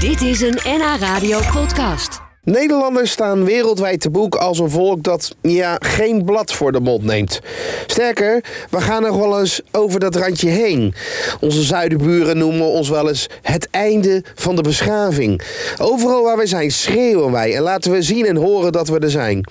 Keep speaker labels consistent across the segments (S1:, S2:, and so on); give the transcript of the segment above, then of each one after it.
S1: Dit is een NH Radio podcast.
S2: Nederlanders staan wereldwijd te boek als een volk dat ja, geen blad voor de mond neemt. Sterker, we gaan nog wel eens over dat randje heen. Onze zuidenburen noemen ons wel eens het einde van de beschaving. Overal waar we zijn schreeuwen wij en laten we zien en horen dat we er zijn.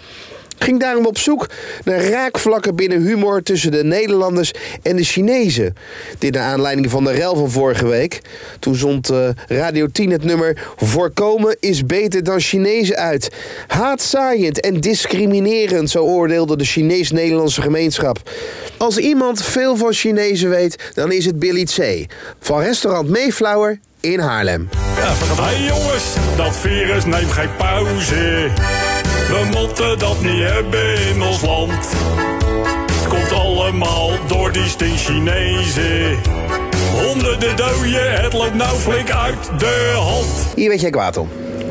S2: Ging daarom op zoek naar raakvlakken binnen humor tussen de Nederlanders en de Chinezen. Dit naar aanleiding van de rel van vorige week. Toen zond eh, Radio 10 het nummer Voorkomen is beter dan Chinezen uit. Haatzaaiend en discriminerend, zo oordeelde de Chinees-Nederlandse gemeenschap. Als iemand veel van Chinezen weet, dan is het Billy Tse. Van restaurant Mayflower in Haarlem.
S3: Hé hey jongens, dat virus neemt geen pauze. We moeten dat niet hebben in ons land. Het komt allemaal door die stink Chinezen. Honderden doden, het loopt nou flink uit de hand.
S2: Hier weet jij kwaad om.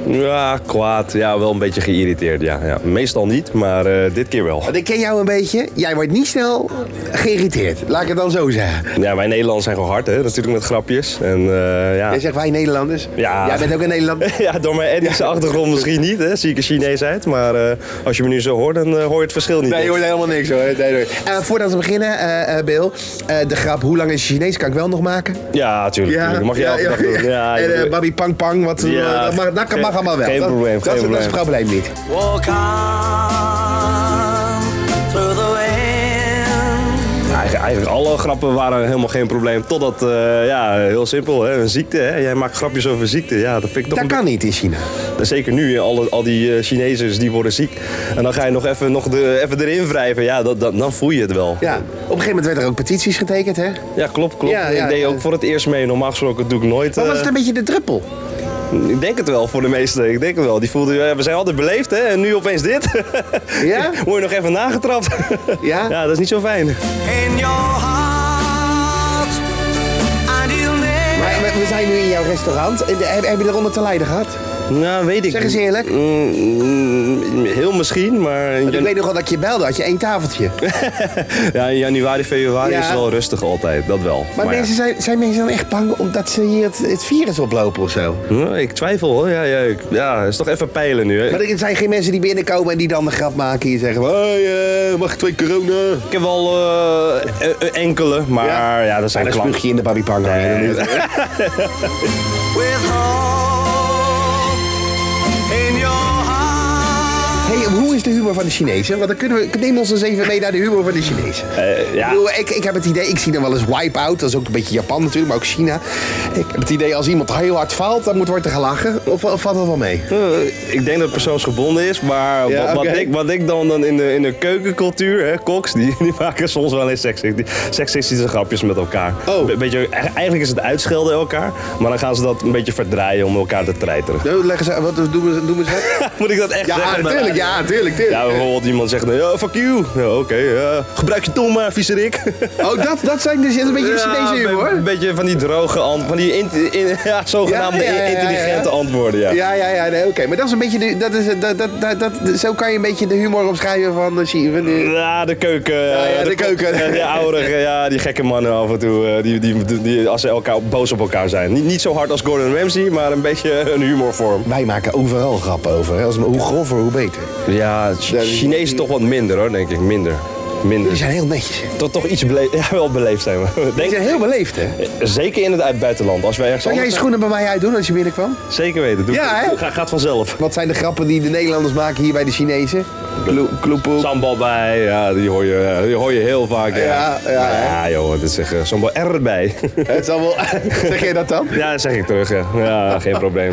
S4: Ja, kwaad. Ja, wel een beetje geïrriteerd. Ja, ja. Meestal niet, maar eh, dit keer wel.
S2: Want ik ken jou een beetje. Jij wordt niet snel geïrriteerd. Laat ik het dan zo zeggen.
S4: Ja, wij Nederlanders zijn gewoon hard, hè? Dat is natuurlijk met grapjes. En eh, ja.
S2: Jij zegt wij Nederlanders.
S4: Ja.
S2: Jij bent ook een Nederlander.
S4: ja, door mijn etnische achtergrond misschien niet, hè? Zie ik er Chinees uit. Maar eh, als je me nu zo hoort, dan eh, hoor je het verschil niet.
S2: Nee, je hoort helemaal niks hoor. Nee, nee. Eh, voordat we beginnen, eh, eh, Bill. eh, de grap, hoe lang is het Chinees? Kan ik wel nog maken?
S4: Ja, tuurlijk. tuurlijk. Dat mag je elke dag doen. Ja,
S2: en eh,
S4: je-
S2: Babi Pang Pang, wat, eh,
S4: Ja.
S2: dat, mag, dat kan- mag allemaal wel.
S4: Geen
S2: Dat-
S4: probleem,
S2: dat,
S4: geen
S2: is- dat is het probleem niet.
S5: Walk on through the wind.
S4: Eigen- Eigenlijk alle grappen waren helemaal geen probleem. Totdat, eh, ja, heel simpel, hè? een ziekte. Hè? Jij maakt grapjes over ziekte. Ja, dat vind ik toch
S2: Dat
S4: een
S2: kan niet in China.
S4: Zeker nu, al, al die eh, Chinezen die worden ziek. En dan ga je nog even, nog de, even erin wrijven. Ja, dat, dat, dan voel je het wel.
S2: Ja. Op een gegeven moment werden er ook petities getekend, hè?
S4: Ja, klopt, klopt.
S2: Ja, ja,
S4: ik deed
S2: ja.
S4: ook voor het eerst mee. Normaal gesproken doe ik nooit...
S2: Maar was
S4: eh,
S2: het een beetje de druppel?
S4: Ik denk het wel voor de meesten. Ik denk het wel. Die voelden, ja, we zijn altijd beleefd, hè? En nu opeens dit.
S2: Ja?
S4: Word je nog even nagetrapt.
S2: Ja?
S4: Ja, dat is niet zo fijn.
S5: In your heart, and you'll never.
S2: Maar we, we zijn nu in jouw restaurant. Eh, Heb, heb je eronder te lijden gehad?
S4: Nou, weet ik
S2: Zeg
S4: niet.
S2: eens eerlijk.
S4: Mm, mm, heel misschien, maar... in
S2: Ik
S4: janu-
S2: weet nog wel dat ik je belde, had je één tafeltje.
S4: ja, in januari, februari
S2: Ja.
S4: is het wel rustig altijd. Dat wel.
S2: Maar,
S4: ja.
S2: mensen zijn, zijn mensen dan echt bang omdat ze hier het, het virus oplopen of zo?
S4: Ja, ik twijfel hoor. Ja, ja, ik- ja, is toch even peilen nu. Hè.
S2: Maar er zijn geen mensen die binnenkomen en die dan een grap maken en zeggen... Hoi, eh mag ik twee corona?
S4: Ik heb wel eh, e- e- enkele, maar ja, dat
S2: En
S4: zijn
S2: dan
S4: klank.
S2: spuug je in de babybang.
S4: Nee,
S5: with hope in your heart.
S2: Hey, hoe is de humor van de Chinezen? Want dan kunnen we, neem ons eens even mee naar de humor van de Chinezen.
S4: Eh, ja.
S2: ik, bedoel, ik, ik heb het idee, ik zie dan wel eens wipe-out. Dat is ook een beetje Japan natuurlijk, maar ook China. Ik heb het idee, als iemand heel hard faalt, dan moet worden gelachen. Of, of valt dat wel mee?
S4: Eh, ik denk dat het persoonsgebonden is, maar
S2: Ja,
S4: wat, wat
S2: oké.
S4: ik, wat ik dan, dan in, de, in de keukencultuur, hè, koks, die, die maken soms wel eens seks- die- seksistische grapjes met elkaar.
S2: Oh.
S4: Be- beetje, e- eigenlijk is het uitschelden elkaar, maar dan gaan ze dat een beetje verdraaien om elkaar te treiteren.
S2: Nou, Leggen ze, wat doen we, doen we ze?
S4: Moet ik dat echt
S2: Ja,
S4: zeggen?
S2: natuurlijk, ja, natuurlijk,
S4: Ja, bijvoorbeeld iemand zegt, ja, fuck you. Ja, Oké, ja. gebruik je tong maar, viezerik.
S2: Oh, dat, dat zijn dus dat is een beetje de
S4: Ja,
S2: Chinezen humor,
S4: Een
S2: hoor.
S4: beetje van die droge antwoorden. Van die int- in- ja, zogenaamde
S2: Ja, ja, ja, ja,
S4: intelligente
S2: ja.
S4: antwoorden. Ja.
S2: Ja, ja, ja, nee, oké. Maar dat is een beetje de, dat is, dat, dat, dat, dat- zo kan je een beetje de humor omschrijven van de Chi- van de-
S4: Ja, de keuken. eh,
S2: ja, de keuken.
S4: De ouderige, ja, die gekke mannen af en toe. eh, Die, die, die, die- als ze elkaar boos op elkaar zijn. Niet, niet zo hard als Gordon Ramsay, maar een beetje een humorvorm.
S2: Wij maken overal grappen over. hè. Als, hoe grover, hoe beter.
S4: Ja, Ch- Chinezen toch wat minder hoor, denk ik. Minder.
S2: Die
S4: Minder.
S2: zijn heel netjes.
S4: Toch, toch iets beleefd. Ja, wel beleefd zijn we.
S2: Die
S4: Denk,
S2: zijn heel beleefd, hè?
S4: zeker in het uit- buitenland. Als wij ergens
S2: Zou jij je
S4: anders
S2: schoenen bij mij uitdoen als je binnenkwam?
S4: zijn. Zeker weten. Doe
S2: Ja, hè?
S4: Ga- Gaat vanzelf.
S2: Wat zijn de grappen die de Nederlanders maken hier bij de Chinezen? Kloe- Kloepoe.
S4: Sambal bij, ja, die hoor je, die hoor je heel vaak.
S2: Ja, ja, hè?
S4: ja joh, dat is echt eh, sambal erbij.
S2: Het zal wel... Zeg jij dat dan?
S4: ja, dat zeg ik terug, ja. ja geen probleem.